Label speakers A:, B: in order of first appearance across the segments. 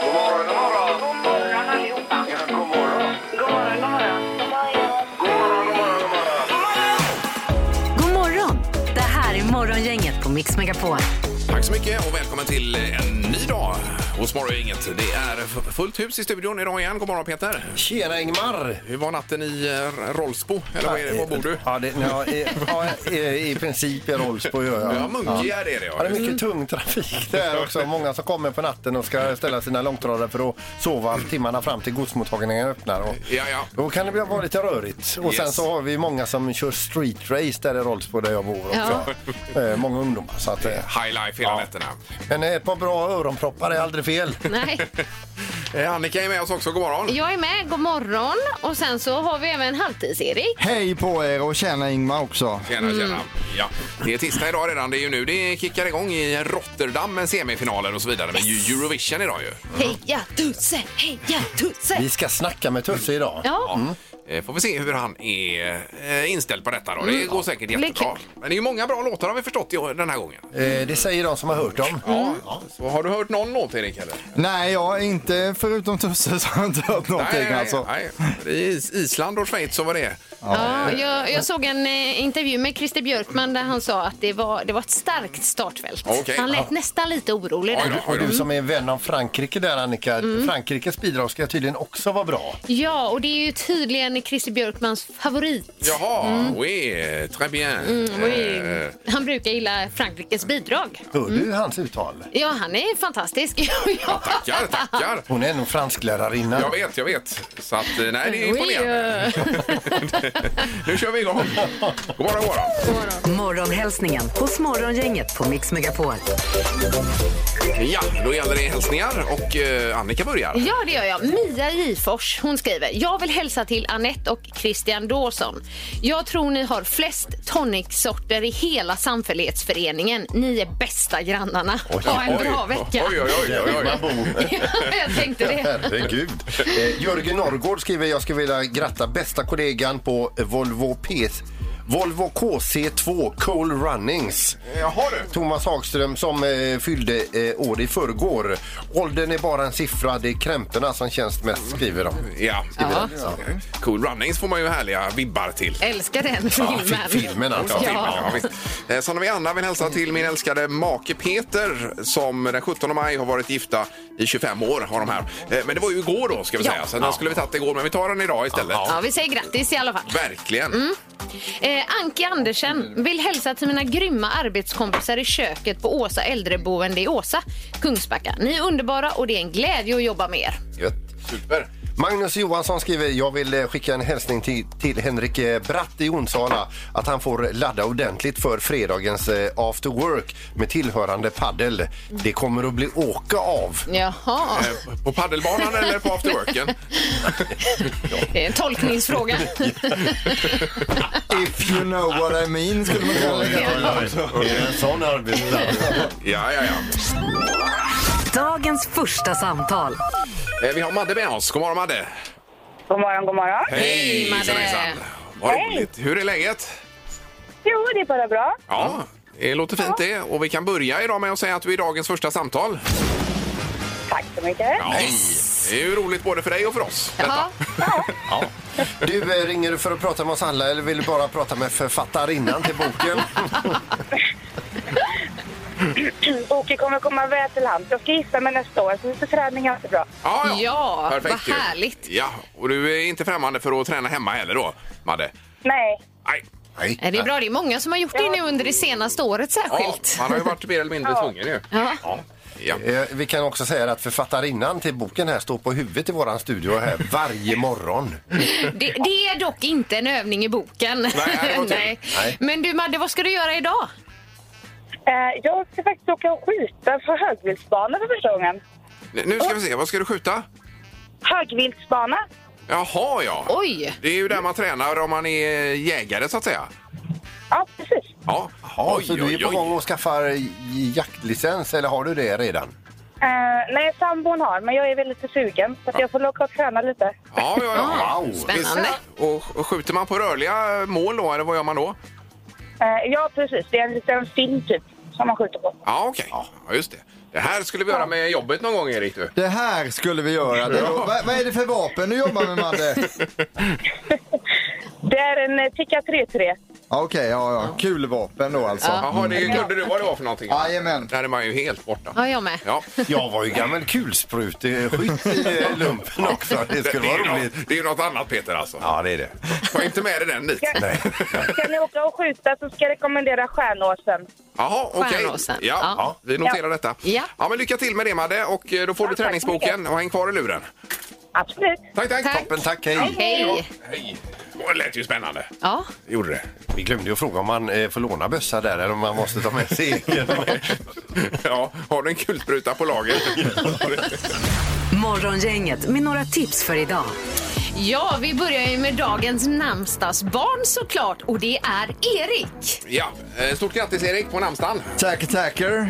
A: God morgon, god morgon.
B: God morgon allihopa.
A: Ja, god morgon.
B: God morgon, god morgon.
A: God morgon, god morgon, god morgon.
C: God morgon! Det här är Morgongänget på Mix Megapol.
D: Tack så mycket och välkommen till eh, en ny dag hos Morgongänget. Det är f- fullt hus i studion idag igen. God morgon Peter!
E: Tjena Ingmar!
D: Hur var natten i eh, Rollsbo? Eller var, är det, var bor du?
E: Ja, det, ja, i, ja, i, i princip i Rollsbo gör jag.
D: Ja, Munkedal är det, ja.
E: Ja, det är mycket tung trafik där också. Många som kommer på natten och ska ställa sina långtradare för att sova timmarna fram till godsmottagningen öppnar. Och,
D: Ja, ja.
E: Då kan det bli- vara lite rörigt. Och sen
D: Yes.
E: så har vi många som kör street race där i Rollsbo där jag bor också. Eh, många ungdomar. Så att, eh,
D: High life hela
E: Ja.
D: nätterna.
E: men eh, ett par bra öronproppar är aldrig fel.
F: Nej,
D: Eh, Annika är med oss också. God morgon!
F: jag är med. God morgon. Och sen så har vi även halvtids-Erik.
G: Hej på er och tjäna Ingmar också.
D: Tjena, tjena. Ja. Det är tisdag idag redan. Det är ju nu det kickar igång i Rotterdam med semifinaler och så vidare. Men ju Eurovision idag ju.
F: Heja Tusse, heja Tusse!
E: Vi ska snacka med Tusse idag.
F: Ja,
D: Eh, Får vi se hur han är eh, inställd på detta då. Det går säkert
F: blir
D: jättebra.
F: kul.
D: Men det är ju många bra låtar har vi förstått i år- den här gången.
E: Eh, det säger de som har hört dem.
D: Ja. Så har du hört någon låt Erik eller?
G: Nej, jag inte förutom Tusse så har jag inte hört någonting
D: nej,
G: alltså.
D: nej. Det är Is- Island och Schweiz som var det.
F: ja jag, jag såg en eh, intervju med Christer Björkman där han sa att det var, det var ett starkt startfält.
D: Okej.
F: Han lät nästan lite orolig
D: Oj
F: där.
D: då,
E: Och
D: oj då.
E: du som är vän av Frankrike där Annika, Frankrikes bidrag ska tydligen också vara bra.
F: Ja, och det är ju tydligen Christer Björkmans favorit.
D: Jaha, oui, très bien. Eh,
F: Han brukar gilla Frankrikes bidrag.
E: Hör du hans uttal?
F: Ja, han är fantastisk. Ja,
D: tackar, tackar.
E: Hon är nog fransklärarinnna.
D: Jag vet, jag vet. Så att, eh, nej, det är imponerande. Nu kör vi igång. God morgon, god morgon.
C: Morgonhälsningen hos Morgongänget på Mix Megapol.
D: Ja, då gäller det hälsningar och eh, Annika börjar.
F: Ja, det gör jag. Mia Gifors, hon skriver. Jag vill hälsa till Annette och Christian Dawson. Jag tror ni har flest tonicsorter i hela samfällighetsföreningen. Ni är bästa grannarna. ha en bra vecka.
D: Oj, oj, oj. oj, oj.
F: jag tänkte det.
E: Herregud. Eh, Jörgen Norrgård skriver jag skulle vilja gratta bästa kollegan på Volvo PS Volvo KC2 Cool Runnings.
D: Jaha du.
E: Thomas Hagström som eh, fyllde eh, år i förrgår. Åldern är bara en siffra, det är krämporna som känns mest, skriver de.
D: Ja. Cool Runnings får man ju härliga vibbar till.
F: Älskar den
E: Ja, fi-
F: filmen.
E: filmen alltså.
D: Ja.
F: Ja.
D: Ja, visst. Eh, Sanna Vianna vill hälsa till min älskade make Peter som den 17 maj har varit gifta i 25 år. Har de här. Eh, Men det var ju igår då ska vi
F: Ja.
D: säga. Så den skulle vi tagit igår men vi tar den idag istället.
F: Ja, vi säger grattis i alla fall.
D: Verkligen.
F: Eh, Anki Andersen vill hälsa till mina grymma arbetskompisar i köket på Åsa äldreboende i Åsa, Kungsbacka. Ni är underbara och det är en glädje att jobba med er.
E: Gött.
D: Super.
E: Magnus Johansson skriver jag vill eh, skicka en hälsning till, till Henrik eh, Bratt i Onsala att han får ladda ordentligt för fredagens eh, after work med tillhörande paddel. Det kommer att bli åka av.
F: Jaha,
D: Eh, På paddelbanan eller på afterworken?
F: det är en Eh, tolkningsfråga.
G: If you know what I mean skulle man kunna lägga till.
E: Är en sån arbetsplats?
D: Ja, ja, ja.
C: Dagens första samtal.
D: Eh, Vi har Madde med oss. God morgon Madde.
B: God morgon, god morgon.
D: Hej
F: Madde.
D: hejsan, hejsan. Vad roligt. Hur är läget?
B: Jo, det är bara bra.
D: Ja, det låter fint det. Och vi kan börja idag med att säga att du är dagens första samtal.
B: Tack så mycket.
D: Ja. Det är ju roligt både för dig och för oss.
F: Ja,
E: Du eh, ringer du för att prata med oss alla eller vill du bara prata med författarinnan till boken?
B: Åke Mm, kommer komma väl till hand. Jag ska gifta mig nästa år, så lite träning är alltid bra.
D: Ja,
F: Ja, vad
D: ju.
F: härligt.
D: Ja, och du är inte främmande för att träna hemma heller då, Madde?
B: Nej,
D: Nej.
E: Nej.
F: är Eh, det är bra. Det är många som har gjort det nu under det senaste året
D: Ja,
F: särskilt.
D: man har ju varit mer eller mindre tvungen ju.
F: Ja.
D: Ja.
E: Eh, Vi kan också säga att författarinnan till boken här står på huvudet i våran studio här varje morgon.
F: Det, det är dock inte en övning i boken.
D: det var tur.
E: Nej.
F: Men du Madde, vad ska du göra idag?
B: eh, jag ska faktiskt åka och skjuta för högviltsbana för första gången.
D: N- Nu ska vi se, vad ska du skjuta?
B: Högviltsbana?
D: Jaha, ja.
F: Oj!
D: Det är ju där man tränar om man är jägare så att säga.
B: Ja, precis.
D: Ja,
E: Ja, så du är på gång och skaffar eh, jaktlicens eller har du det redan?
B: Eh, nej, sambon har, men jag är väl lite sugen. Så att jag får åka och träna lite.
D: Ja, ja, ja.
E: Wow.
F: Spännande.
D: Visst. Och och skjuter man på rörliga mål då, eller vad gör man då?
B: Eh, ja, precis. Det är en liten film typ som man skjuter på.
D: Ja, okej. Ja, just det. Det här skulle vi göra med jobbet någon gång, Erik. Du.
G: Det här skulle vi göra. Det, vad, vad är det för vapen du jobbar med, Madde?
B: Det är en eh, Ticka 33.
G: Ja, Okej, ja, ja. Kulvapen då alltså.
D: Jaha, det
E: Mm.
D: kunde du vad det var för någonting?
G: Jajamän.
D: Där är man ju helt borta.
F: Ja, jag med.
D: Ja.
E: Jag var ju gammal kulspruteskytt i eh, lumpen också. Det
D: Det,
E: skulle
D: det, är
E: vara
D: ju
E: roligt.
D: något, det är ju något annat, Peter. Alltså.
E: Ja, det är det.
D: Ta inte med dig den dit.
E: Nej.
B: Ska ni åka och skjuta så ska jag rekommendera Stjärnåsen.
D: Jaha, okej.
F: Stjärnrosen.
D: Ja,
F: Ja.
D: Vi noterar detta.
F: Ja.
D: Ja, men lycka till med det, Madde. Och eh, då får du
B: Ja, tack så
D: träningsboken och häng kvar i luren.
B: Absolut.
D: Tack, tack.
F: Tack.
E: Men tack, hej.
F: Hej!
D: Hej. Åh, Det lät ju spännande.
F: Ja,
D: Det gjorde det.
E: Vi glömde ju att fråga om man eh, får låna bössa där eller om man måste ta med sig egen.
D: Ja, har du en kulspruta på lager?
C: Morgongänget med några tips för idag.
F: ja vi börjar ju med dagens namnsdagsbarn såklart och det är Erik.
D: ja, eh, stort grattis Erik på namnsdagen.
G: Tack, tacker.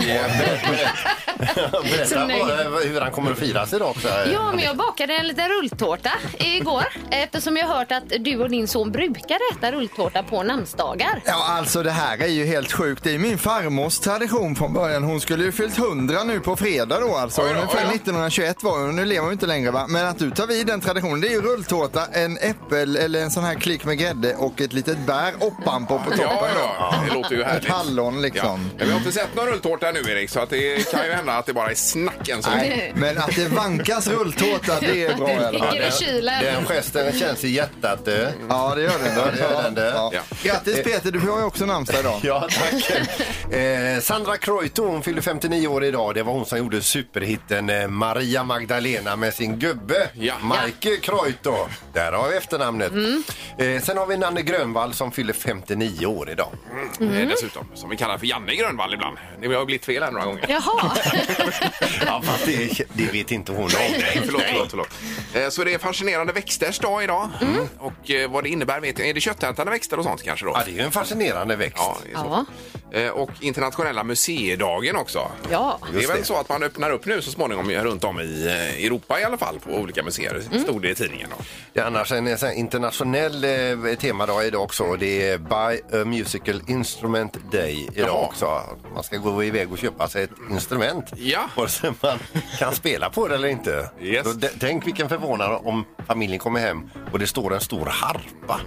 E: Berätta
F: nej.
E: bara hur han kommer att firas idag också.
D: Eh,
F: Ja, men jag bakade en liten rulltårta igår eftersom jag hört att du och din son brukar äta rulltårta på namnsdagar.
G: Ja, alltså det här är ju helt sjukt. Det är ju min farmors tradition från början. Hon skulle ju fyllt 100 nu på fredag då alltså.
D: Oj då,
G: Ungefär
D: oj då.
G: 1921 var hon. Nu lever hon ju inte längre va. Men att du tar vid den traditionen. Det är ju rulltårta, en äppel eller en sån här klick med grädde och ett litet bär oppanpå på toppen.
D: Ja,
G: då.
D: ja, det låter ju härligt.
G: Ett hallon
D: Ja.
G: liksom.
D: Men vi har inte sett någon rulltårta nu Erik, så att det kan ju hända att det bara är snack än så länge.
G: Nej, men att det vankas rulltårta, det är bra i alla fall.
F: Ligger i kylen.
E: Den gesten känns i hjärtat. eh. du.
G: Ja, det gör den.
E: Ja, det gör den, det.
D: Ja.
G: Grattis Peter, du har ju också namnsdag idag.
E: Ja, tack. eh, Sandra Kreuter, hon fyller 59 år idag. Det var hon som gjorde superhitten eh, Maria Magdalena med sin gubbe
D: Ja. Mm.
E: Maike Kreuter. Där har vi efternamnet. Eh, sen har vi Nanne Grönvall som fyller 59 år idag.
D: Eh, Dessutom, som vi kallar för Janne Grönvall ibland. Det har ju blivit fel här några gånger.
F: Jaha,
E: Ja, fast det, det vet inte hon om.
D: Nej, förlåt, förlåt, förlåt. Eh, Så det är fascinerande växters dag idag. Och eh, vad det innebär vet jag Är det köttätande växter och sånt kanske då?
E: Ja, det är ju en fascinerande växt.
D: Ja, det är så. Eh, Och internationella museidagen också.
F: ja.
D: Det är
E: Just
D: väl
E: det.
D: så att man öppnar upp nu så småningom runt om i eh, Europa i alla fall på olika museer, stod det i tidningen. Då.
E: Det är annars en, en sån här internationell eh, temadag idag också. Och Det är Buy a Musical Instrument Day idag
D: Jaha.
E: också. Man ska gå iväg och köpa sig ett instrument.
D: Ja.
E: Vare sig man kan spela på det eller inte.
D: Yes.
E: Så de- tänk vilken förvånad om familjen kommer hem och det står en stor harpa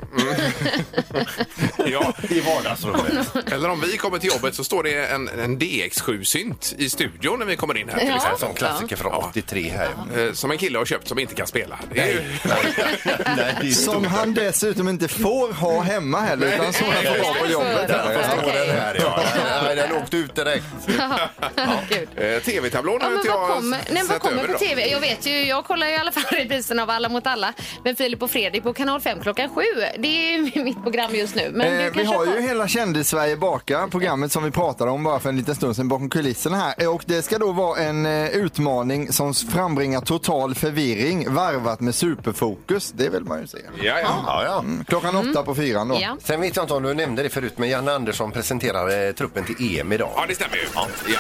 D: Ja.
E: i vardagsrummet.
D: Eller om vi kommer till jobbet så står det en, en DX7-synt i studion när vi kommer in här. Till
F: Ja.
E: En
D: exempel.
E: sån klassiker från 83 här.
D: Eh, Som en kille har köpt som inte kan spela. Det är ju...
E: Nej, det är
G: Som
E: stor-
G: han dessutom inte får ha hemma heller, utan sådana får vara på jobbet.
E: Där
G: Där.
E: står den här. Ja. Nej, den åkte ut direkt.
F: Gud.
D: Eh, TV-tablån
F: Ja,
D: har
F: men
D: inte
F: vad
D: jag
F: kommer,
D: s-
F: nej, vad
D: sett
F: kommer
D: över
F: på
D: då.
F: tv? Jag vet ju, jag kollar ju i alla fall reprisen av Alla mot alla med Filip och Fredrik på Kanal 5 klockan 7. Det är ju mitt program just nu. Men du
G: Eh, vi
F: kanske
G: har
F: har-
G: ju hela Kändis-Sverige baka, programmet som vi pratade om bara för en liten stund sedan bakom kulisserna här. Eh, Och det ska då vara en eh, utmaning som frambringar total förvirring varvat med superfokus. Det vill man ju se. Mm.
D: Ja, ja.
E: Ja, ja.
G: Klockan åtta på fyran då.
F: Ja.
E: Sen vet jag inte om du nämnde det förut, men Janne Andersson presenterar eh, truppen till EM idag.
D: ja, det stämmer ju. Ja.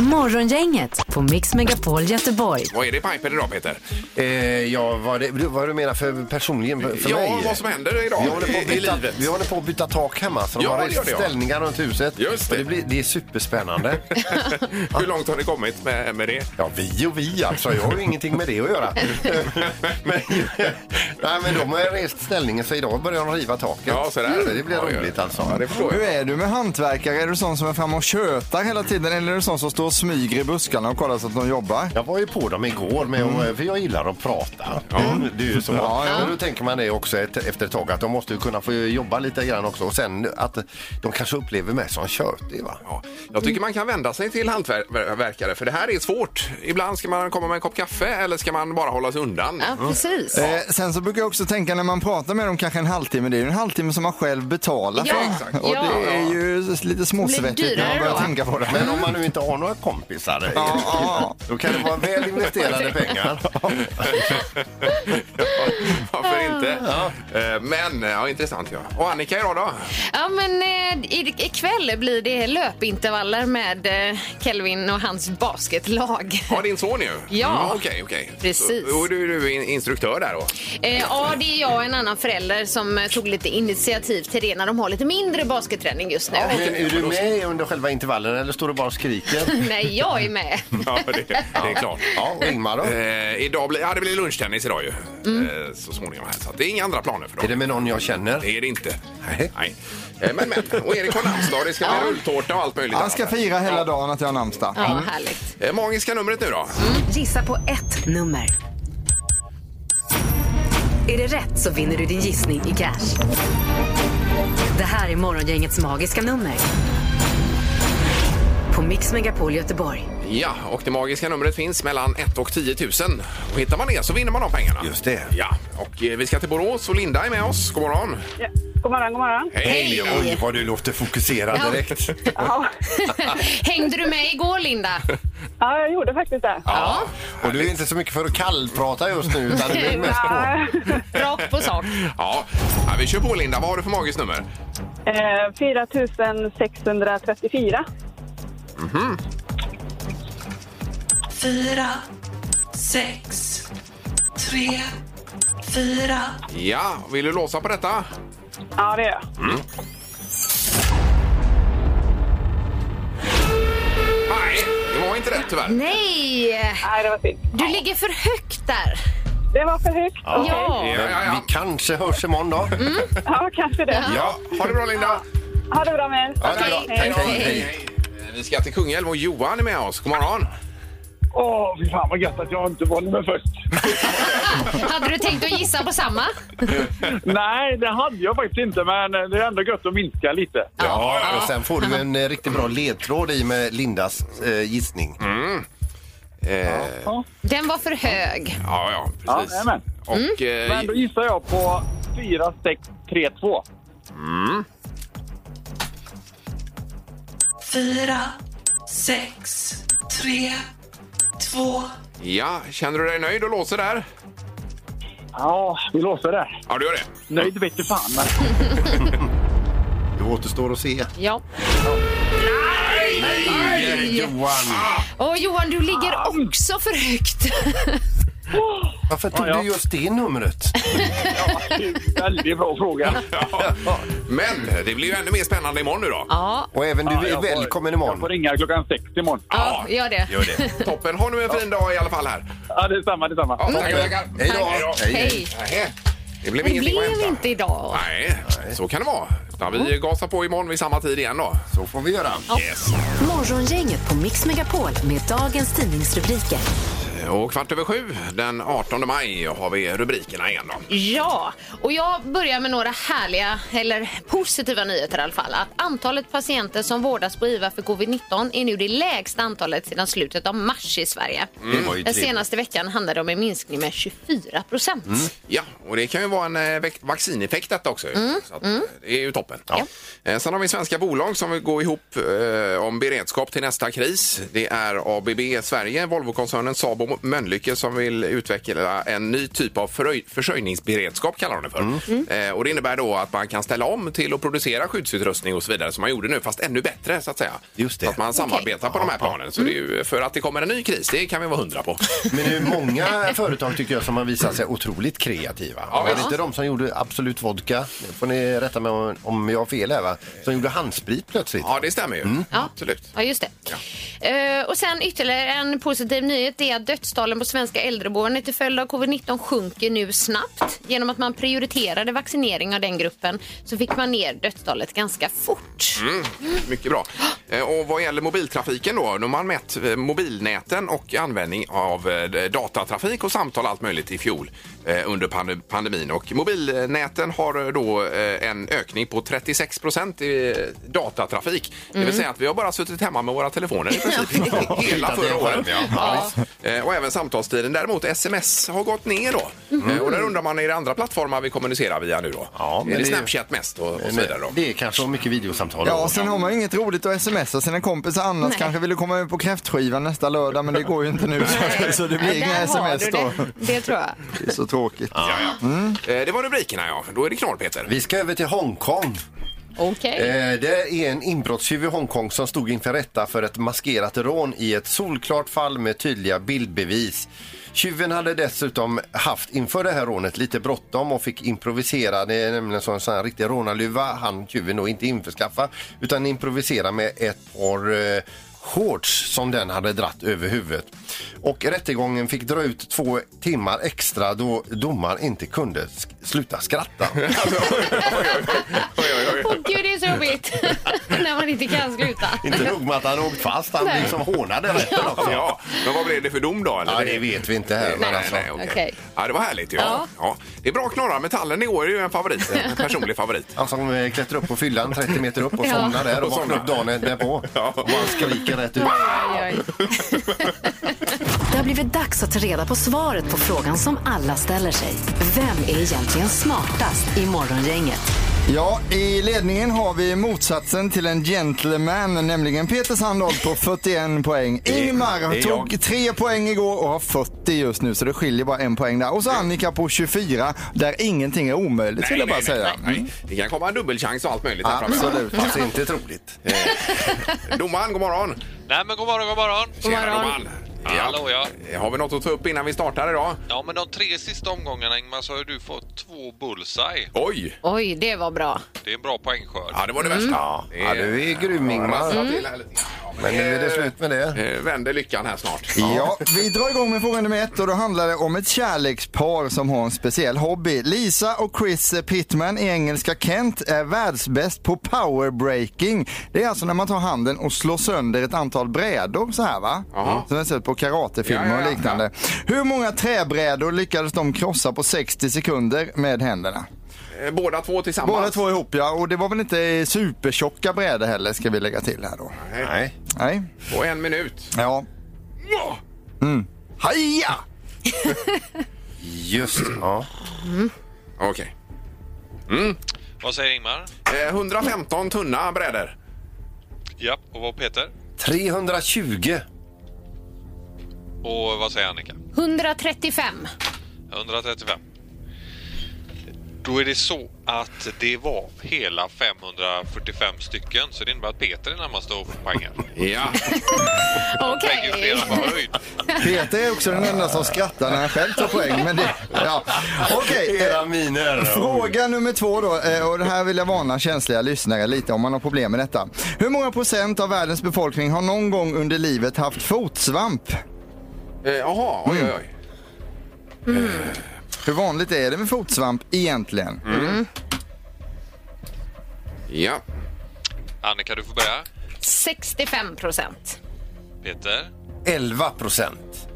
C: Morgongänget på Mix Megapol Göteborg.
D: Vad är det i pipen idag, Peter?
E: Eh, ja, vad, det, vad du menar för personligen, för- för
D: ja,
E: mig?
D: vad som händer idag
E: Vi håller, på
D: i,
E: att
D: i
E: byta,
D: livet.
E: vi håller på att byta tak hemma, så de
D: Ja,
E: har
D: det gör det, ja.
E: ställningar runt huset.
D: Just det.
E: Och Det, blir, det är superspännande.
D: Hur långt har ni kommit med, med det?
E: Ja, vi och vi alltså. Jag har ju ingenting med det att göra. men, nej, men de har rest ställningen, så idag börjar de riva taket.
D: Ja, så där.
E: det blir
D: Ja, ja.
E: roligt alltså.
D: Ja, det förstår
G: Hur
D: jag.
G: är du med hantverkare? Är du sån som är framme och tjötar hela tiden eller är du sån som står och smyger i buskarna och kollar så att de jobbar?
E: Jag var ju på dem igår, med, för jag gillar att prata. Mm. Det är ju så.
G: Ja, ja.
E: Men då tänker man det också ett, efter ett tag, att de måste ju kunna få jobba lite grann också. Och sen att de kanske upplever mig som tjötig. Va?
D: Ja, jag tycker man kan vända sig till hantverkare för det här är svårt. Ibland ska man komma med en kopp kaffe eller ska man bara hålla sig undan.
F: Ja, precis.
G: Eh, sen så brukar jag också tänka när man pratar med dem kanske en halvtimme, det är ju en halvtimme som man själv betalar
F: Ja,
G: för.
F: exakt.
G: Och
F: Ja.
G: det är ju s- lite småsvettigt när man
F: dyrare
G: börjar
F: då.
G: tänka på det.
E: Men om man nu inte har några kompisar, eh,
G: Ja, ja,
E: då kan det vara väl investerade pengar.
D: Varför inte? Eh, Men ja, intressant ja. Och Annika idag då?
F: Ja, men eh, i- ikväll blir det löpintervaller med eh, Kelvin och hans basketlag.
D: Ja, din son ju.
F: Ja.
D: Mm, Okej, okej.
F: Precis.
D: Och du är du in- instruktör där då?
F: Eh, ja, det är jag och en annan förälder som eh, tog lite initiativ till det när de har lite mindre basketträning just nu.
E: Men är du med under själva intervallen eller står du bara och skriker?
F: Nej, jag är med.
D: Ja, det, det är klart.
E: Ja, och Ingmar då?
D: Eh, idag blir, ja, det blir lunchtennis idag ju. Eh, så småningom här. Så att det är inga andra planer för dem.
E: Mm. Är det med någon jag känner?
D: Det är det inte.
E: Nej.
D: Nej. Eh, Men, men. Och Erik har namnsdag. Det ska bli rulltårta och allt möjligt.
G: Han ska
D: annat.
G: fira hela dagen att jag har namnsdag. Mm.
F: Ja, härligt.
D: Eh, Magiska numret nu då.
E: Mm.
C: Gissa på ett nummer. Är det rätt så vinner du din gissning i cash. Det här är Morgongängets magiska nummer. På Mix Megapol Göteborg.
D: Ja, och det magiska numret finns mellan 1 och 10 000. Och hittar man det så vinner man de pengarna.
E: Just det.
D: Ja, och eh, vi ska till Borås och Linda är med oss. God morgon.
B: Ja. God morgon, god morgon.
D: Hej!
E: Oj, vad du låter fokuserad direkt.
B: Ja,
F: Hängde du med igår, Linda?
B: ja jag gjorde faktiskt det.
F: Ja.
E: Och du är inte så mycket för att kallprata just nu utan du är mest på.
F: Rakt på sak.
D: Ja, ja, vi kör på Linda. Vad har du för magiskt nummer?
B: Eh, 4634.
H: fyra, sex, tre, fyra.
D: Ja, vill du låsa på detta?
B: Ja, det gör jag.
D: Nej, det var inte rätt tyvärr.
F: Nej!
B: Nej, det var synd.
F: Du ligger för högt där.
B: Det var för högt.
F: Ja.
D: Ja, ja,
E: Men
D: ja.
E: vi kanske hörs imorgon då.
G: Mm.
B: Ja, kanske det.
D: ja. Ha det bra Linda.
B: Ha det bra med er.
E: Ja, det är bra.
D: Ja,
E: Hej, hej, hej.
D: Eh, Vi ska till Kungälv och Johan är med oss. God morgon.
I: Åh, fy fan vad gött att jag inte var nummer först.
F: Hade du tänkt att gissa på samma?
I: Nej, det hade jag faktiskt inte, men det är ändå gött att minska lite.
E: Ja, och sen får du en eh, riktigt bra ledtråd i med Lindas eh, gissning.
D: Eh,
F: Den var för hög.
D: ja, ja, precis.
I: Jajamän.
E: Mm.
D: Och, eh,
I: Men då gissar jag på 4632.
H: Fyra, sex, tre, två.
D: ja, känner du dig nöjd och låser där?
I: Ja, vi låser det.
D: Ja, du gör det.
I: Nöjd vete fan, men...
E: Det återstår att se.
F: Ja.
E: Johan,
F: Och Johan, du ligger också för högt.
E: varför tog
I: Ja, ja.
E: du just det numret?
I: Ja, det är en väldigt bra fråga.
D: Ja. Men det blir ju ännu mer spännande imorgon nu då.
F: Ja,
E: Och även du
I: Ja,
E: är
I: jag får-
E: välkommen
I: Jag får
E: imorgon.
I: ringa klockan sex imorgon.
F: ja gör det.
D: Gör det. Toppen. Ha nu en fin dag i alla fall här.
I: Ja, detsamma, detsamma.
D: Ja, tackar, tackar.
E: Mm. Hej då.
D: Hej
F: Hej.
D: då. Nähä. Det blev
F: Men det
D: ingenting att
F: blev
D: hämta.
F: inte Mm. idag.
D: Nej, så kan det vara. Ja, vi gasar på imorgon vid samma tid igen då.
E: Så får vi göra.
D: Yes.
C: Morgongänget på Mix Megapol med dagens tidningsrubriker.
D: Och kvart över sju den 18 maj har vi rubrikerna igen då.
F: Ja, och jag börjar med några härliga, eller positiva nyheter i alla fall. Att antalet patienter som vårdas på IVA för covid-19 är nu det lägsta antalet sedan slutet av mars i Sverige.
E: Det
D: Mm.
E: var ju
F: Den
E: trevligt.
F: senaste veckan handlade det om en minskning med 24 procent.
D: Ja, och det kan ju vara en eh, väx- vaccineffekt detta också. ju. Så att, eh, Det är ju toppen.
F: Ja.
D: Eh, Sen har vi svenska bolag som vill gå ihop eh, om beredskap till nästa kris. Det är ABB Sverige, Volvokoncernen Saab och Mölnlycke som vill utveckla en ny typ av föröj- försörjningsberedskap kallar de det för. Eh, Och det innebär då att man kan ställa om till att producera skyddsutrustning och så vidare som man gjorde nu, fast ännu bättre så att säga.
E: Just det.
D: Så att man samarbetar på de här planen. Så det är ju för att det kommer en ny kris, det kan vi vara hundra på.
E: Men det är många företag tycker jag som har visat sig otroligt kreativa.
D: Ja,
E: var det
D: visst.
E: inte de som gjorde Absolut Vodka, nu får ni rätta mig om- om jag har fel här va, som gjorde handsprit plötsligt?
D: Ja, det stämmer ju. Absolut.
F: Ja, just det. Eh, och sen ytterligare en positiv nyhet är att dödstalen på svenska äldreboenden till följd av covid-19 sjunker nu snabbt. Genom att man prioriterade vaccinering av den gruppen så fick man ner dödstalet ganska fort.
D: Mycket bra. Eh, Och vad gäller mobiltrafiken då, de har mätt eh, mobilnäten och användning av eh, datatrafik och samtal allt möjligt i fjol eh, under pande- pandemin. Och mobilnäten har eh, då eh, en ökning på 36 procent i eh, datatrafik.
E: Mm.
D: Det vill säga att vi har bara suttit hemma med våra telefoner i princip hela förra året. Ja. Eh, och även samtalstiden. Däremot sms har gått ner då. Eh, Och där undrar man, är det andra plattformar vi kommunicerar via nu då?
E: Mhm. Ja, men
D: är det
E: det-
D: Snapchat mest och, och så vidare då?
E: Det är kanske mycket videosamtal.
G: Ja, sen har man ju inget roligt att smsa sina kompisar annars.
F: Nej.
G: Kanske vill du komma ut på kräftskivan nästa lördag men det går ju inte nu så, så det blir
F: Där
G: inga
F: har
G: sms
F: du
G: då.
F: det. Det tror jag.
G: Det är så tråkigt.
D: Ja, ja. Eh, Det var rubrikerna ja. Då är det knorr Peter.
E: Vi ska över till Hongkong.
F: Okej.
E: Eh, Det är en inbrottstjuv i Hongkong som stod inför rätta för ett maskerat rån i ett solklart fall med tydliga bildbevis. Tjuven hade dessutom haft inför det här rånet lite bråttom och fick improvisera. Det är nämligen så en sån här riktig rånarluva han tjuven då inte införskaffa utan improvisera med ett par eh, shorts som den hade dratt över huvudet. Och rättegången fick dra ut två timmar extra då domaren inte kunde sk- sluta skratta.
D: Oj, oj, oj.
F: Åh gud, det är så jobbigt när man inte kan sluta.
E: Inte nog med att han åkt fast, han
F: Nej.
E: liksom hånade rätten också.
D: Ja, men vad blev det för dom då? Eller?
E: Ja, det vet vi inte här.
D: Nej,
E: Men
D: nej,
E: alltså,
D: nej, okej.
F: Okej.
D: Ja, det var härligt. Ja. Ja.
F: Ja.
D: Det är bra att knorra. Metallen i år är ju en favorit. En personlig favorit.
E: han som eh, klättrar upp på fyllan 30 meter upp och
F: Ja.
E: somnar där och
D: Och
E: vaknar upp
D: somnar.
E: dagen därpå.
D: Ja.
E: Och han skriker rätt ut.
F: Oj, oj.
C: Det har blivit dags att ta reda på svaret på frågan som alla ställer sig. Vem är egentligen smartast i Morgongänget?
G: Ja, i ledningen har vi motsatsen till en gentleman, nämligen Peter Sandholt på 41 poäng.
D: det
G: Ingmar
D: är
G: tog 3 poäng igår och har 40 just nu, så det skiljer bara en poäng där. Och så Annika på 24, där ingenting är omöjligt vill jag bara säga.
D: nej.
E: Mm.
D: Det kan komma en dubbelchans och allt möjligt här framöver. Eh,
G: Absolut.
E: Fast det är inte troligt.
D: Domaren, god morgon!
J: Nej men god morgon, god morgon.
D: Tjena,
F: morgon.
D: domaren!
J: Hallå, ja.
D: Har vi något att ta upp innan vi startar idag?
J: Ja men de tre sista omgångarna Ingmar så har ju du fått två bullseye.
D: Oj!
F: Oj, det var bra.
J: Det är en bra poängskörd.
D: Ja, det var det värsta.
E: Ja, ja, du är grym Ingmar.
D: Rassla till här lite grann. Ja,
E: Men nu är det slut med det.
D: eh, Vänder lyckan här snart.
G: Ja, vi drar igång med fråga nummer ett och då handlar det om ett kärlekspar som har en speciell hobby. Lisa och Chris Pittman i engelska Kent är världsbäst på powerbreaking. Det är alltså när man tar handen och slår sönder ett antal brädor så här va?
D: Jaha.
G: Som vi har sett på karatefilmer
D: Ja, ja, ja.
G: och liknande. Hur många träbrädor lyckades de krossa på 60 sekunder med händerna?
D: Eh, Båda två tillsammans.
G: Båda två ihop ja, och det var väl inte supertjocka brädor heller ska vi lägga till här då.
E: Nej.
G: Nej,
D: På en minut.
G: ja.
D: Ja!
G: Haja!
E: Just ja.
D: Okej.
J: Vad säger Ingmar?
D: Eh, 115 tunna brädor.
J: Japp. Och vad Peter?
E: 320.
J: Och vad säger Annika?
F: 135.
J: 135. Då är det så att det var hela 545 stycken så det innebär att Peter är närmast och får poängen.
D: Ja.
F: Okej.
J: Tänker flera på höjd.
G: Peter är också den enda som skrattar när han själv tar poäng. Men det, ja. Okej, eh,
E: Era miner.
G: fråga nummer två då. eh, Och det här vill jag varna känsliga lyssnare lite om man har problem med detta. Hur många procent av världens befolkning har någon gång under livet haft fotsvamp?
D: Eh, Jaha, oj, oj, oj.
G: Hur vanligt är det med fotsvamp egentligen?
D: Ja.
J: Annika du får börja.
F: 65 procent.
J: Peter.
E: 11 procent.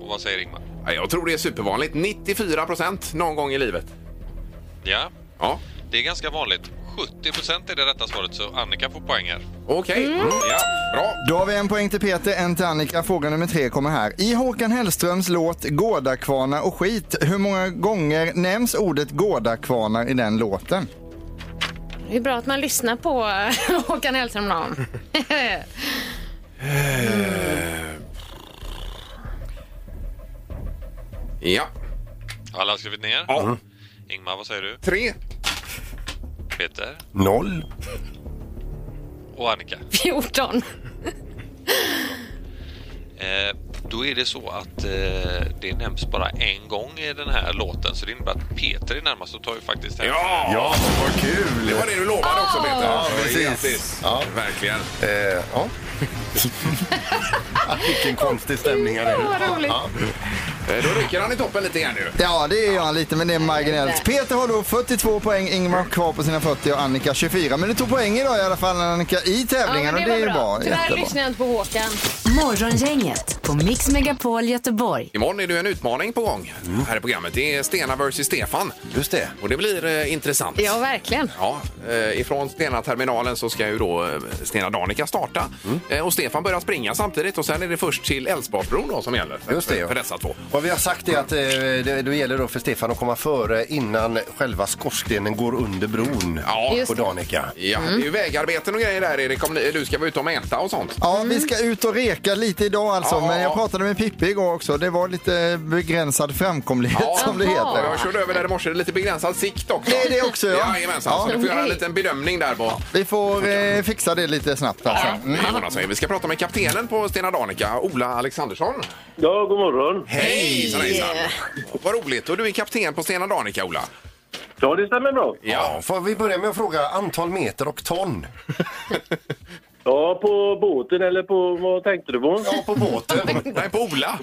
J: Och vad säger Ingmar?
D: Ja, Jag tror det är supervanligt. 94 procent någon gång i livet.
J: Ja.
D: Ja,
J: Det är ganska vanligt. 70 procent är det rätta svaret så Annika får poänger.
D: okej. Mm. Ja, bra.
G: Då har vi en poäng till Peter, en till Annika. Fråga nummer tre kommer här. I Håkan Hellströms låt Gårdakvarnar och skit, hur många gånger nämns ordet gårdakvarnar i den låten?
F: Det är bra att man lyssnar på eh, Håkan Hellström då.
D: Ja.
J: Alla har skrivit ner?
D: ja.
J: Ingmar vad säger du?
D: Tre.
J: Peter?
E: Noll.
J: Och Annika?
F: 14.
J: Eh, då är det så att eh, det nämns bara en gång i den här låten så det innebär att Peter är närmast och tar ju faktiskt hem.
D: Ja!
E: Ja, vad kul.
D: Det var det du lovade också, Peter.
E: Ja, precis.
D: Grattis.
E: Ja.
D: Verkligen.
E: Eh, ja. Vilken konstig stämning här nu.
F: Vad roligt.
D: Eh, Då rycker han i toppen lite igen nu.
G: Ja, det gör han lite, men det är marginellt. Peter har då 42 poäng, Ingmar kvar på sina 40 och Annika 24. Men du tog poäng idag i alla fall, Annika, i
F: Ja, men
G: tävlingen. och
F: det var
G: är ju
F: bra.
G: bra.
F: Tyvärr
G: Jättebra.
F: lyssnade jag inte på Håkan.
C: Morgongänget på Mix Megapol Göteborg.
D: Imorgon är det ju en utmaning på gång här i programmet. Det är Stena vs Stefan.
E: Just det.
D: Och det blir eh, intressant.
F: Ja, verkligen.
D: Ja, eh, ifrån Stena-terminalen så ska ju då eh, Stena Danica starta. Eh, och Stefan börjar springa samtidigt och sen är det först till Älvsborgsbron då som gäller.
E: Just det,
D: För,
E: ja.
D: för dessa två.
E: Vad vi har sagt är att eh, det, då gäller då för Stefan att komma före innan själva skorstenen går under bron
D: Ja.
F: Just
E: på
F: det.
E: Danica.
D: Ja, det är ju vägarbeten och grejer där Erik. Om ni, du ska vara ute och mäta och sånt.
G: Ja, vi ska ut och reka lite idag alltså.
D: Ja.
G: Men jag pratade med Pippi igår också. Det var lite begränsad framkomlighet som det
F: Jaha.
D: Och
G: heter.
D: jag körde över där i morse. Det är lite begränsad sikt också.
G: Det är det också, ja.
D: Jajamensan,
G: Ja.
D: så du får göra en liten bedömning där på. Mm.
G: Vi får eh, fixa det lite snabbt alltså.
D: Ja, det ordnar sig. Vi ska prata med kaptenen på Stena Danica, Ola Alexandersson.
I: Ja, god morgon.
D: Hej! Hejsan. Vad roligt. Och du är kapten på Stena Danica, Ola.
I: Ja, det stämmer bra.
E: Ja, får vi börja med att fråga antal meter och ton?
I: Ja, på båten eller på... Vad tänkte du på?
E: Ja, på båten.
D: Nej, på Ola.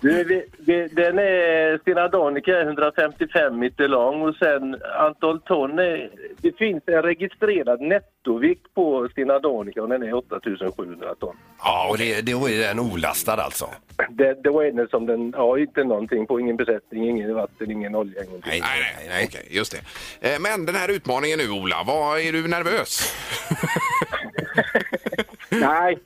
I: Du, vi, vi, den är, Stena Danica är 155 meter lång och sen antal ton är, Det finns en registrerad nettovikt på Stena Danica och den är 8700 ton.
E: Ja, och det, det är den olastad alltså.
I: Det, det var en som den... Ja, inte någonting på, ingen besättning, ingen vatten, ingen olja, ingenting.
E: Nej,
D: Nej, nej, nej. Okej, just det. Eh, Men den här utmaningen nu, Ola. Vad Är du nervös?
I: Nej,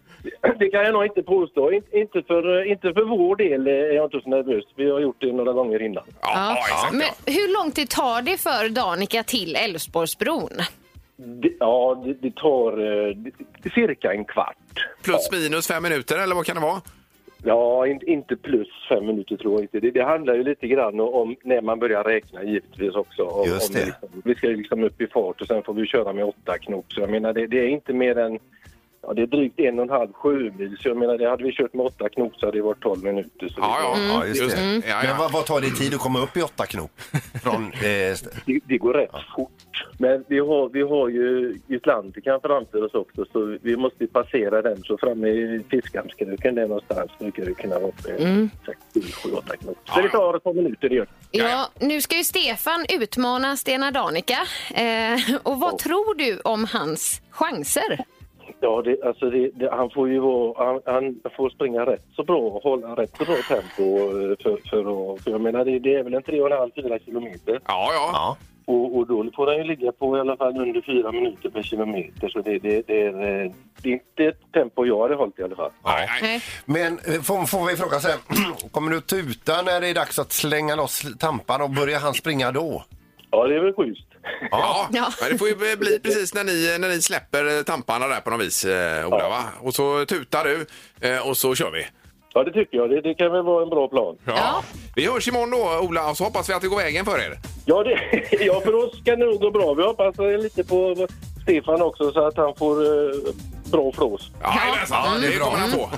I: det kan jag nog inte påstå. In, inte, för, inte för vår del är jag inte så nervös. Vi har gjort det några gånger innan.
D: Ja, ja, exakt.
F: Men
D: Ja.
F: hur lång tid tar det för Danica till Älvsborgsbron?
I: Det, ja, det, det tar eh, det- cirka en kvart.
D: Plus minus fem minuter, eller vad kan det vara?
I: Ja, in, inte plus fem minuter tror jag inte. Det, det handlar ju lite grann om när man börjar räkna givetvis också. Om,
E: Just
I: om
E: det.
I: Liksom, vi ska ju liksom upp i fart och sen får vi köra med åtta knop. Så jag menar det, det är inte mer än Ja, det är drygt en och en halv sjömil, så jag menar det hade vi kört med åtta knop så hade det varit 12 minuter. Så
D: Ja,
I: det,
D: ja.
E: Ja, just det.
D: Mm. Ja, ja.
E: Men vad, vad tar det i tid att komma upp i åtta knop? Från, eh, st-
I: det, det går rätt fort. Men vi har, vi har ju Jutlantikan framför oss också så vi måste ju passera den. Så framme i Fiskhamnskruken där någonstans brukar det kunna vara uppe i 6, 7, 8 knop. Så
D: Ja,
I: det
D: ja.
I: tar ett par minuter, det gör det.
F: Ja,
D: ja.
F: nu ska ju Stefan utmana Stena Danica. Eh, och vad tror du om hans chanser?
I: Ja, det, alltså det, det, han får ju vara, han, han får springa rätt så bra och hålla rätt så bra tempo. eh, För, för, att- för jag menar, det, det är väl en 3,5-4 kilometer.
D: Ja, ja.
E: ja.
I: Och, och då får han ju ligga på i alla fall under 4 minuter per kilometer. Så det, det, det, är, eh, det är inte ett tempo jag hade hållit i alla fall.
D: Nej, nej.
F: Nej.
E: Men eh, får, får vi fråga sen, kommer du tuta när det är dags att slänga loss tampan och börjar han springa då?
I: Ja, det är väl schysst.
D: Ja,
F: Ja.
D: men det får ju bli precis när ni, när ni släpper eh, tamparna där på något vis, eh, Ola. Va? Och så tutar du eh, och så kör vi.
I: Ja, det tycker jag. Det, det kan väl vara en bra plan.
F: Ja.
D: Vi hörs imorgon då, Ola, och så hoppas vi att det går vägen för er.
I: Ja, det, ja för oss ska det nog gå bra. Vi hoppas eh, lite på Stefan också så att han får eh, bra flås.
D: Ja, jajamensan,
E: Mm.
D: det kommer han få.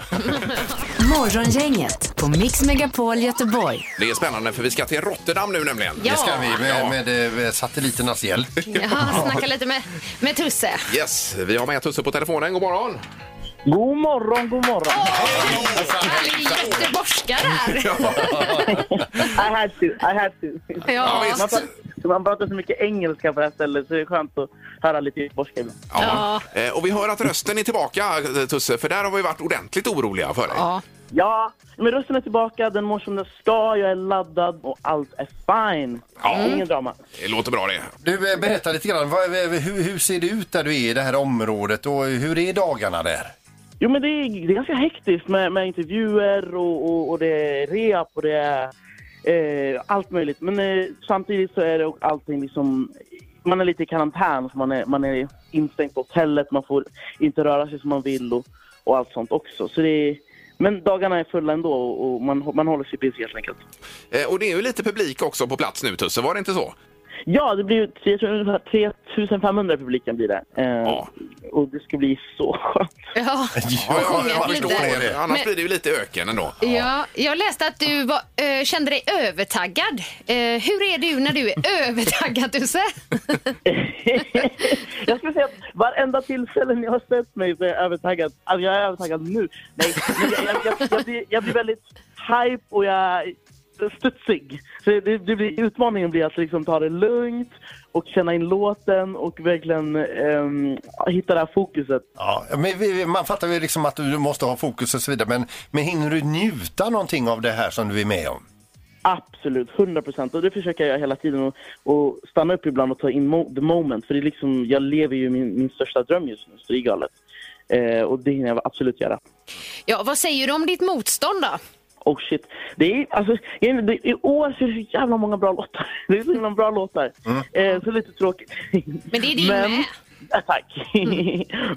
C: Morgongänget på Mix Megapol Göteborg.
D: Det är spännande för vi ska till Rotterdam nu nämligen.
F: Ja.
E: Det ska vi
D: Ja.
E: med, med, eh, satelliternas hjälp.
F: Ja, snacka lite med, med Tusse.
D: Yes, vi har med Tusse på telefonen. God morgon!
I: God morgon, god morgon.
F: Han är ju göteborgska där.
B: I had to, I had to.
D: Ja,
F: Ja,
D: visst.
B: Man pratar så mycket engelska på det här stället så det är skönt att höra lite göteborgska ibland.
D: Ja. Eh, Och vi hör att rösten är tillbaka, eh, Tusse, för där har vi varit ordentligt oroliga för dig.
F: ja.
B: Ja, men rösten är tillbaka, den mår som den ska, jag är laddad och allt är fine.
D: Ja.
F: Mm.
B: Ingen drama.
D: Det låter bra det.
E: Du, eh, berätta lite grann. Vad, eh, hur, hur ser det ut där du är i det här området och hur är dagarna där?
B: Jo men det är, det är ganska hektiskt med, med intervjuer och, och, och det är rep och det är eh, allt möjligt. Men eh, samtidigt så är det också allting liksom, man är lite i karantän, så man är, man är instängd på hotellet, man får inte röra sig som man vill och, och allt sånt också. Så det är, men dagarna är fulla ändå och och man, man håller sig busy helt enkelt.
D: Eh, Och det är ju lite publik också på plats nu, Tusse, var det inte så?
B: Ja, det blir ju tre- ungefär 3500 i publiken blir det. Eh,
D: Ja.
B: Och det ska bli så skönt.
F: ja.
D: Ja,
F: jag
D: ja,
F: sjunger
D: jag
F: lite.
D: förstår det. Annars
F: Men-
D: blir det ju lite öken ändå.
F: Ja, jag läste att du var, eh, kände dig övertaggad. Eh, hur är du när du är övertaggad, Tusse?
B: jag skulle säga att varenda tillfälle ni har sett mig så är jag övertaggad. Alltså jag är övertaggad nu. Nej, men jag, jag, jag, jag, blir, jag blir väldigt hype och jag är studsig. Så det, det blir, utmaningen blir att liksom ta det lugnt och känna in låten och verkligen ehm, hitta det här fokuset.
E: Ja, men vi- vi, man fattar ju liksom att du måste ha fokus och så vidare, men, men hinner du njuta någonting av det här som du är med om?
B: Absolut, 100 procent. Och det försöker jag hela tiden att och stanna upp ibland och ta in mo- the moment. För det är liksom, jag lever ju min, min största dröm just nu, så det är galet. Eh, och det hinner jag absolut göra.
F: Ja, vad säger du om ditt motstånd då?
B: Oh shit. Det är, alltså, grejen är- det, I år så är det så jävla många bra låtar. Det är så himla bra låtar. Eh, så lite tråkigt.
F: Men det är din med.
B: Ja, tack.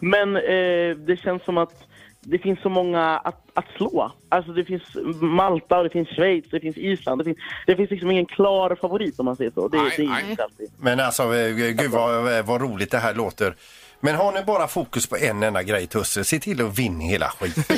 B: Men eh, det känns som att det finns så många att, att slå. Alltså det finns Malta, och det finns Schweiz, det finns Island. Det finns, det finns liksom ingen klar favorit om man säger så. Det,
D: Nej,
B: det är
D: nej.
B: inte alltid.
E: Men alltså, eh, gud vad, vad roligt det här låter. Men har ni bara fokus på en enda grej, Tusse, se till att vinna hela skiten.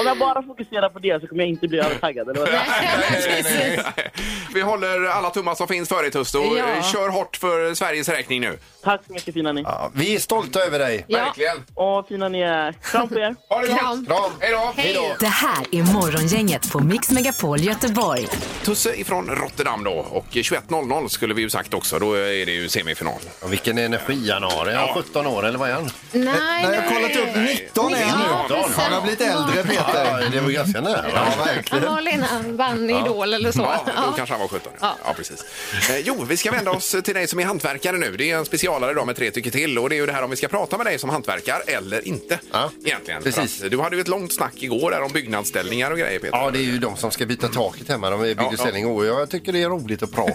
B: Om jag bara fokuserar på det så kommer jag inte bli övertaggad. Eller vad det är.
D: Vi håller alla tummar som finns för dig Tusse
F: Ja.
D: och eh, kör hårt för Sveriges räkning nu.
B: Tack så mycket fina ni.
E: Ja, vi är stolta över dig.
F: Ja.
D: Verkligen.
B: Åh, fina ni är. Kram på er.
D: Ha det
F: Kram.
D: gott! Kram. Hej då!
F: Hej då.
C: Det här är Morgongänget på Mix Megapol Göteborg.
D: Tusse ifrån Rotterdam då och 21.00 skulle vi ju sagt också. Då är det ju semifinal.
E: Och vilken energi han har. Är han 17 år eller vad är han?
F: Nej,
G: Nej, jag har
F: nej.
G: kollat upp 19 är han nu.
F: Ja, precis.
G: Han har blivit äldre Peter.
E: Ja, det var ganska nära.
G: Ja,
E: va?
F: Han
G: verkligen.
F: var väl innan vann Idol eller så.
D: Ja, då
F: Ja.
D: kanske han var 17. Ja,
F: Ja.
D: precis. Eh, jo, vi ska vända oss till dig som är hantverkare nu. Det är en specialare idag med tre tycker till och det är ju det här om vi ska prata med dig som hantverkare eller inte.
E: Ja,
D: Egentligen.
E: precis.
D: För att Du hade ju ett långt snack igår där om byggnadsställningar och grejer Peter.
E: Ja, det är ju de som ska byta taket hemma. De
D: Ja, ja.
E: bygger ställning och jag tycker det är roligt att prata.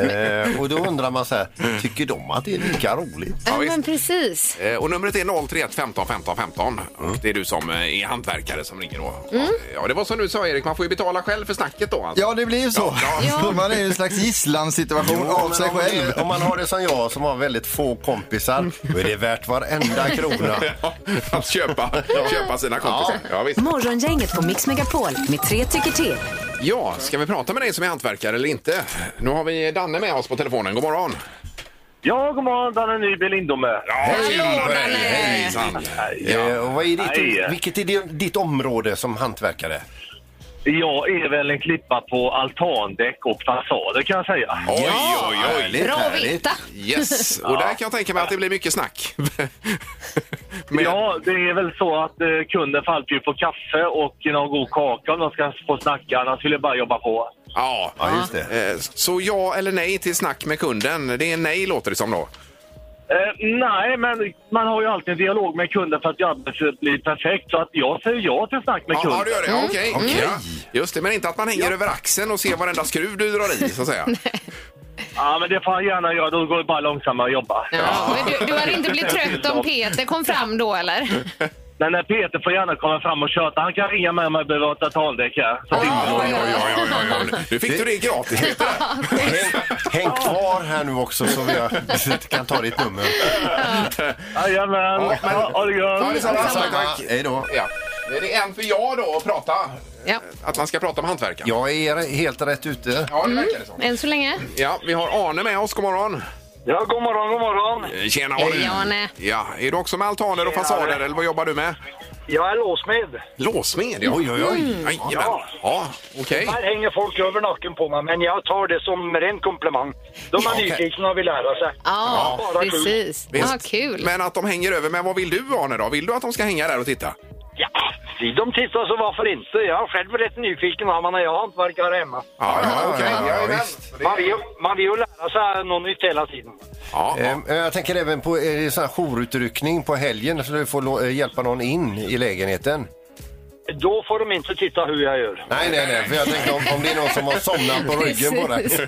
E: eh, och då undrar man så här, tycker de att det är lika roligt?
F: Ja,
D: visst.
F: men precis.
D: Eh, Och numret är 031 15 15 15.
E: Mm.
D: Och det är du som eh, är hantverkare som ringer då. Ja, det var som du sa Erik, man får ju betala själv för snacket då. Alltså.
G: Ja, det blir ju så.
D: Ja, ja.
G: Så Man är ju i en slags gisslansituation av sig
E: om,
G: själv.
E: om man har det som jag som har väldigt få kompisar, då är det värt varenda krona.
D: Att köpa, köpa sina kompisar. Ja, visst.
C: Morgongänget på Mix Megapol med tre tycker till.
D: ja, ska vi prata med dig som är hantverkare eller inte? Nu har vi Danne med oss på telefonen. God morgon!
I: Ja, god morgon. Danne Nyby Lindome.
D: Hej!
E: Danne!
D: Hejsan!
E: Eh, och vad
I: Nej.
E: är ditt, vilket är din- ditt område som hantverkare?
I: Jag är väl en klippa på altandäck och fasader kan jag säga.
D: Oj, oj, oj!
E: Härligt,
F: Bra att
E: härligt.
F: veta.
D: Yes! Och där kan jag tänka mig att det blir mycket snack. Men-
I: Ja, det är väl så att eh, kunden får alltid få kaffe och någon god kaka om de ska få snacka. Annars vill jag bara jobba på.
D: Ja.
E: Ja, just det.
D: Eh, Så ja eller nej till snack med kunden? Det är nej låter det som då.
I: Eh, nej, men man har ju alltid en dialog med kunden för att jobbet blir perfekt. Så att jag säger ja till snack med Mm.
D: Ja,
I: kunden.
D: ja, det gör det. Ja, Okej. Ja. Just det, men inte att man hänger över axeln och ser varenda skruv du drar i, så att säga.
I: Ja, men det får han gärna göra. Då går det bara långsammare att jobba.
F: Ja. Men du, du hade inte blivit trött om Peter kom fram då eller?
I: Men när Peter får gärna komma fram och köta. Han kan ringa mig om jag behöver ha ett altandäck här. Så ringer han.
D: Oj, oj, oj, oj, oj, oj. Nu fick du det gratis, Peter.
E: Häng, häng kvar här nu också så vi kan ta ditt nummer.
I: Jajamän!
D: Ja, men-
I: Ha- Ha det
D: Ja,
I: gött!
D: detsamma.
E: Detsamma.
D: Tack.
E: Hej då.
D: Ja. Det är en för jag då att prata.
F: Ja,
D: Att man ska prata med hantverkaren.
E: Jag är helt rätt ute.
D: Ja, det verkar det som.
F: än så länge.
D: Ja, vi har Arne med oss. God morgon.
I: Ja, god morgon, god morgon!
D: Eh, Tjena, Arne.
F: Hej, Arne.
D: Ja, är du också med altaner och
I: Tjena,
D: fasader
I: Arne.
D: eller vad jobbar du med?
I: Jag är låsmed.
D: Låsmed, ja.
E: Oj, oj, oj.
D: Aj, ja. ja, okej.
I: Här hänger folk över nacken på mig, men jag tar det som ren komplimang. De är
D: Okej.
I: nyfikna och vill lära sig.
F: Ja,
I: bara kul.
F: precis. Ja,
D: Visst.
F: kul.
D: Men att de hänger över. Men vad vill du, Arne? då? Vill du att de ska hänga där och titta?
I: Ja, vill de titta så varför inte? Jag är själv rätt nyfiken av mig när jag har hantverkare hemma.
D: Ja, ja,
E: ja,
D: okej.
E: ja,
D: Jajamän.
E: visst.
I: Man vill, ju- man vill ju lära sig något nytt hela tiden.
D: Ja, ja.
E: Eh, Jag tänker även på eh, sån här jourutryckning på helgen så du får lo- eh, hjälpa någon in i lägenheten.
I: Då får de inte titta hur jag gör.
E: Nej, nej, nej. För jag tänkte om, om det är någon som har somnat på ryggen på
F: Precis.
E: dig.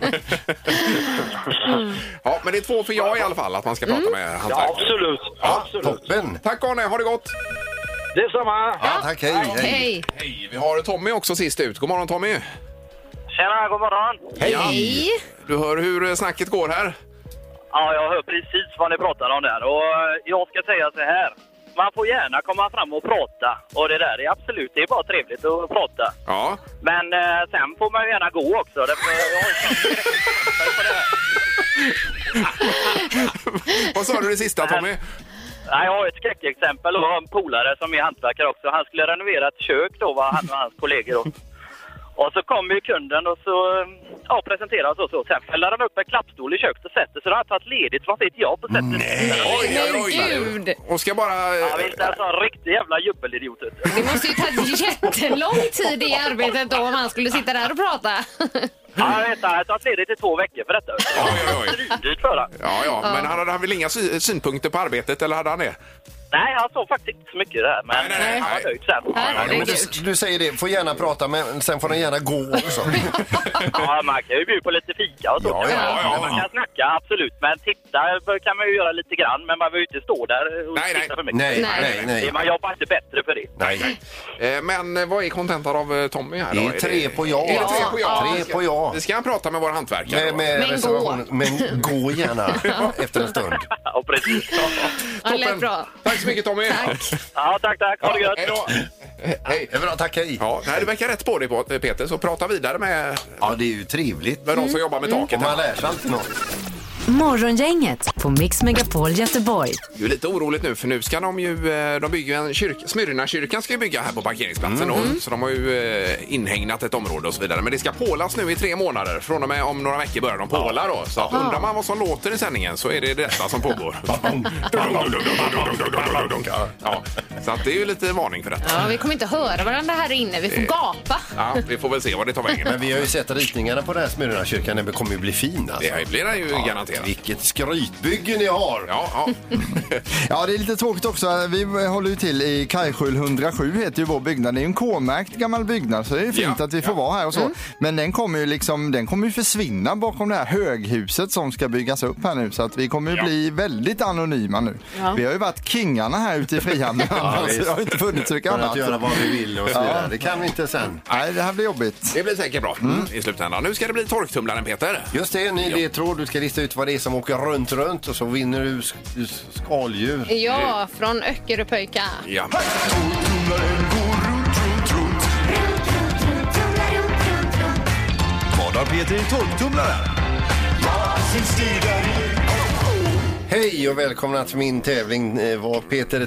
D: ja, men det är två för jag i alla fall att man ska prata med
I: Ja,
D: hantverkare.
I: absolut. absolut.
E: Toppen!
D: Tack Arne, ha det gott!
I: Detsamma.
E: Ja, tack, hej, hej.
F: Hej.
D: Hej, vi har Tommy också sist ut. God morgon Tommy!
I: Tjena, god morgon.
D: Ja,
F: Hej.
D: du hör hur eh, snacket går här.
I: Ja, jag hör precis vad ni pratar om där. Och eh, jag ska säga så här. Man får gärna komma fram och prata. Och det där är absolut, det är bara trevligt att prata.
D: Ja,
I: Men eh, sen får man ju gärna gå också. Därför jag har ju-
D: vad sa du det sista Tommy?
I: Nej, jag har ett skräckexempel. Det var en polare som är hantverkare också. Han skulle renovera ett kök då, var han och hans kollegor. Då.
B: Och så kommer ju kunden och så eh, ja, presenterar oss och så. Sen fäller de upp en klappstol i köket och sätter sig. Då har han tagit ledigt från sitt jobb och sätter sig.
F: Men gud!
D: Och ska bara... eh,
B: Han är en sån riktig jävla jubbelidiot. ut.
F: Det måste ju tagit jättelång tid i arbetet då om han skulle sitta där och prata.
B: Ja, jag vet, han har tagit ledigt i två veckor för detta.
D: Oj, oj, oj.
B: Svindyrt för han.
D: Ja, ja, men han hade han väl inga sy- synpunkter på arbetet eller hade han det?
B: Nej, han såg faktiskt inte så mycket i det här. Men
D: Nej, nej, nej.
B: han var nöjd sen.
E: Men du,
F: Herregud.
E: du säger det, får gärna prata men sen får den gärna gå också.
B: Ja, man kan ju bjuda på lite fika och så.
E: Ja, ja,
D: ja, ja.
B: Men Man kan snacka, absolut. Men titta kan man ju göra lite grann. Men man behöver ju inte stå där och
D: Nej, nej.
B: titta för mycket.
E: Nej,
F: Nej.
E: nej, nej.
B: Man jobbar inte bättre för det.
E: nej, nej.
D: Eh, Men eh, vad är kontentan av eh, Tommy här
E: Det
D: då?
E: är tre på ja.
D: Är det tre på ja?
E: Tre
D: Vi ska-
E: på ja.
D: Vi ska prata med våra hantverkare. då.
E: Med, med
F: Men gå.
E: reservation. Men gå gärna efter en stund.
B: Ja, precis.
F: Ja, det lät
D: Toppen.
F: bra.
D: Tack så mycket Tommy!
B: Ja, tack, tack. Ha det
D: Ja,
B: gött.
D: hej då.
E: Hej. Bra, tack, hej.
D: Ja, nej, du verkar rätt på det Peter, så prata vidare med,
E: Ja, det är ju trevligt.
D: med de som jobbar med taket.
E: Och man
D: här.
E: lär sig alltid något.
C: Morgongänget på Mix Megapol Göteborg.
D: Det är lite oroligt nu för nu ska de ju, eh, de bygger ju en kyrka, Smyrnakyrkan ska ju bygga här på parkeringsplatsen
E: Mhm.
D: då, så de har ju eh, inhägnat ett område och så vidare. Men det ska pålas nu i tre månader, från och med om några veckor börjar de påla då. Så att undrar man vad som låter i sändningen så är det detta som pågår. Ja, så att det är ju lite varning för detta.
F: Ja, vi kommer inte höra varandra här inne. Vi får gapa.
D: Ja, vi får väl se vad det tar
E: Men
D: vägen.
E: vi har ju sett ritningarna på den här Smyrnakyrkan. Den kommer ju bli fin alltså.
D: Det blir den ju garanterat.
E: Vilket skrytbygge ni har!
D: Ja, ja.
G: Ja, det är lite tråkigt också. Vi håller ju till i Kajskjul 107 heter ju vår byggnad. Det är ju en K-märkt gammal byggnad så det är ju fint
D: Ja,
G: att vi får vara här och så. Men den kommer ju liksom, den kommer ju försvinna bakom det här höghuset som ska byggas upp här nu. Så att vi kommer ju
D: Ja.
G: bli väldigt anonyma nu. Vi har ju varit kingarna här ute i Frihamnen. alltså, det har ju inte funnits så mycket
E: För att
G: annat.
E: göra vad vi vill och så vidare. Det kan vi inte sen.
G: Nej, det här blir jobbigt.
D: Det blir säkert bra i slutändan. Nu ska det bli torktumlaren Peter.
E: Mm. Just det, en ny ledtråd. Du ska lista ut vad det är som åker runt, runt och så vinner du sk- sk- skaldjur.
F: Ja, från Öckeröpöjka.
D: Ja.
K: Vad har Peter i torktumlaren?
E: Hej och välkomna till min tävling eh, Vad Peter är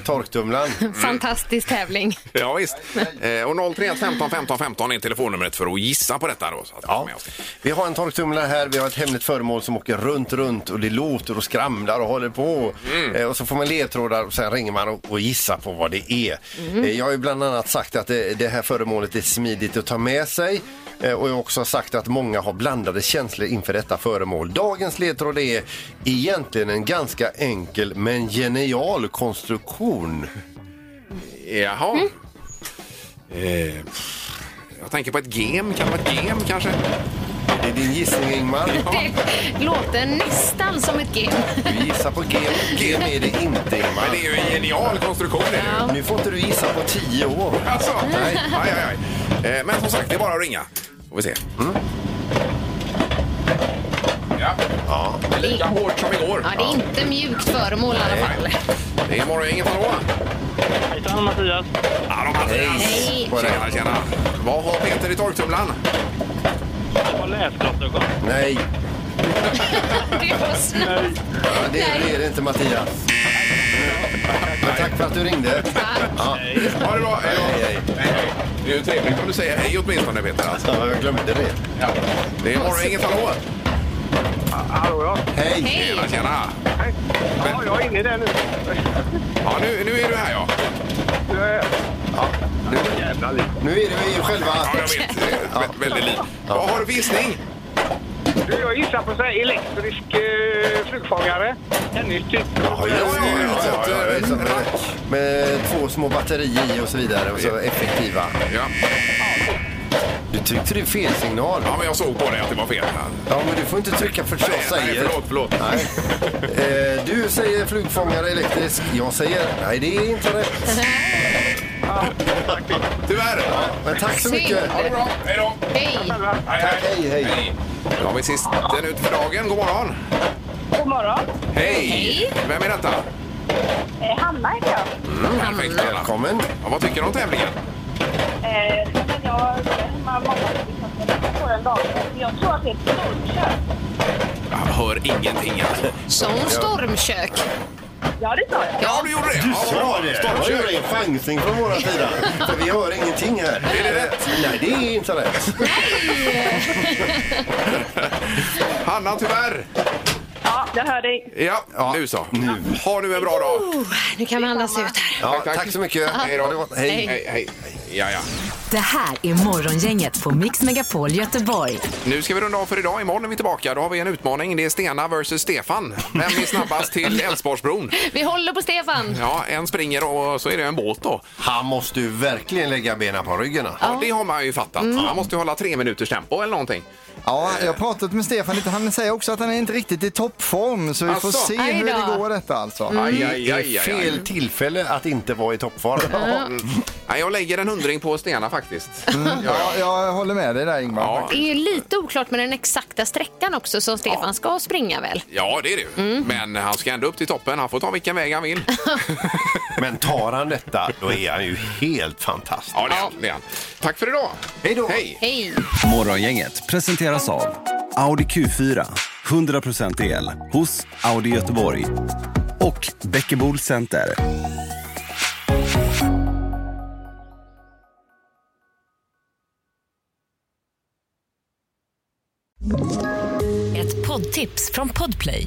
E: torktumlaren.
F: Fantastisk tävling.
D: Ja, visst. Eh, och 031 15 15 15 är telefonnumret för att gissa på detta. Då, så att ja. med oss.
E: Vi har en torktumlare här, vi har ett hemligt föremål som åker runt, runt och det låter och skramlar och håller på. Eh, och så får man ledtrådar och sen ringer man och, och gissar på vad det är. Eh, jag har ju bland annat sagt att det, det här föremålet är smidigt att ta med sig. Eh, Och jag har också sagt att många har blandade känslor inför detta föremål. Dagens ledtråd är egentligen en ganska enkel men genial konstruktion.
D: Jaha.
F: Mm.
D: Eh, jag tänker på ett gem. Kan det vara ett gem kanske?
E: Det är din gissning Ingmar.
F: Det låter nästan som ett game.
E: Du gissar på gem. Gem är det inte
D: Men det
E: Ingmar.
D: är ju en genial konstruktion. Är det ju.
E: Nu får inte du gissa på tio år.
D: Alltså, nej, aj, aj, aj. Eh, men som sagt, det är bara att ringa. Får vi se. Mm. Ja. ja, det är lika hårt som igår.
F: Ja, det är inte mjukt föremål i alla fall.
D: Det är morgon, inget hallå.
B: Hejsan, Mattias.
D: Hallå Mattias!
F: Hej.
D: Tjena, tjena. Vad har Peter i torktumlaren?
B: Jag har läsglasögon.
E: Nej,
F: Det var snabbt.
E: Ja, det, det är det inte Mattias. Men tack för att du ringde. Ja,
D: Ha det bra, hej då.
E: Hej, hej.
D: Hej, hej. Det är ju trevligt om du säger hej åtminstone Peter. Alltså.
E: ja, jag glömde det.
D: Ja. Det är morgon, inget hallå.
I: Hallå ja.
E: Hej!
F: Hej.
D: Tjena, tjena.
I: ja, jag är inne i det nu.
D: Ja, nu, nu är du här ja.
I: eh, Jävla liv.
E: Nu är det vi själva.
D: Ja, jag vet. Det är vä- Väldigt liv.
E: Ja.
D: Vad har du för gissning?
I: Du, jag gissar på så här elektrisk eh, flugfångare. Tennis typ.
E: Ja, just det.
D: Ja, ja, ja, ja,
E: Som är eh, Med två små batterier i och så vidare och så effektiva.
D: Ja.
E: Du tryckte det fel signal.
D: ja, men jag såg på dig att det var fel.
E: Ja, men du får inte trycka för
D: Nej,
E: jag
D: nej,
E: säger.
D: förlåt, förlåt.
E: Nej. Eh, Du säger flugfångare elektrisk. Jag säger nej, det är inte rätt.
D: Tyvärr.
E: Men tack så
F: Synd.
E: mycket.
D: Ha det bra, hej då.
F: Hej.
D: Hej,
E: Hej, hej.
D: Då har vi sisten ut för dagen. God morgon.
B: God morgon.
D: Hej! Vem är detta?
B: Eh, Hanna heter jag.
D: Mm, perfekt, Anna.
E: Välkommen.
D: Ja, vad tycker du om tävlingen?
B: Eh, men jag är hemma många timmar på en dag. Jag tror att det är ett storkök.
D: Jag hör ingenting. Alltså.
F: Som stormkök.
B: Ja, det sa jag.
D: Ja, du gjorde det!
E: Du
D: ja,
E: sa det!
D: Startkör.
E: Det var ju en chansning från våra sida. För vi hör ingenting här. Är det rätt? Nej, det är inte rätt.
D: Hanna, tyvärr!
B: Ja, jag hör dig.
D: Ja, nu så. Ha nu en bra dag.
F: Nu kan man andas ut här.
E: Ja, tack. så mycket.
D: Hej då.
E: Ha det gott. Hej.
D: Hej, hej. Ja, ja.
C: Det här är Morgongänget på Mix Megapol Göteborg.
D: Nu ska vi runda av för idag. Imorgon är vi tillbaka. Då har vi en utmaning. Det är Stena versus Stefan. Vem är snabbast till Älvsborgsbron?
F: Vi håller på Stefan.
D: Ja, en springer och så är det en båt då.
E: Han måste ju verkligen lägga benen på ryggen.
D: Ja, det har man ju fattat.
E: Mm.
D: Man måste ju hålla tre minuters tempo eller någonting.
G: Ja, jag har pratat med Stefan lite. Han säger också att han är inte riktigt i toppform. Så vi får
D: Asså?
G: se
F: Aj
G: hur det
F: då.
G: går detta alltså.
D: Aj,
E: Det är fel tillfälle att inte vara i toppform.
D: Nej, jag lägger en hundring på Stena faktiskt.
E: Mm.
G: Ja, jag håller med dig där Ingmar.
D: Ja,
F: Det är ju lite oklart med den exakta sträckan också som Stefan ska springa väl.
D: ja det är det ju.
E: Mm.
D: Men han ska ändå upp till toppen. Han får ta vilken väg han vill.
E: Men tar han detta, då är han ju helt fantastisk.
D: Ja, det är han. Det är han. Tack för idag.
E: Hej då.
D: Hej.
F: Hej!
K: Morgongänget presenteras av Audi Q4. 100% el hos Audi Göteborg. Och Bäckebol Center.
L: Ett poddtips från Podplay.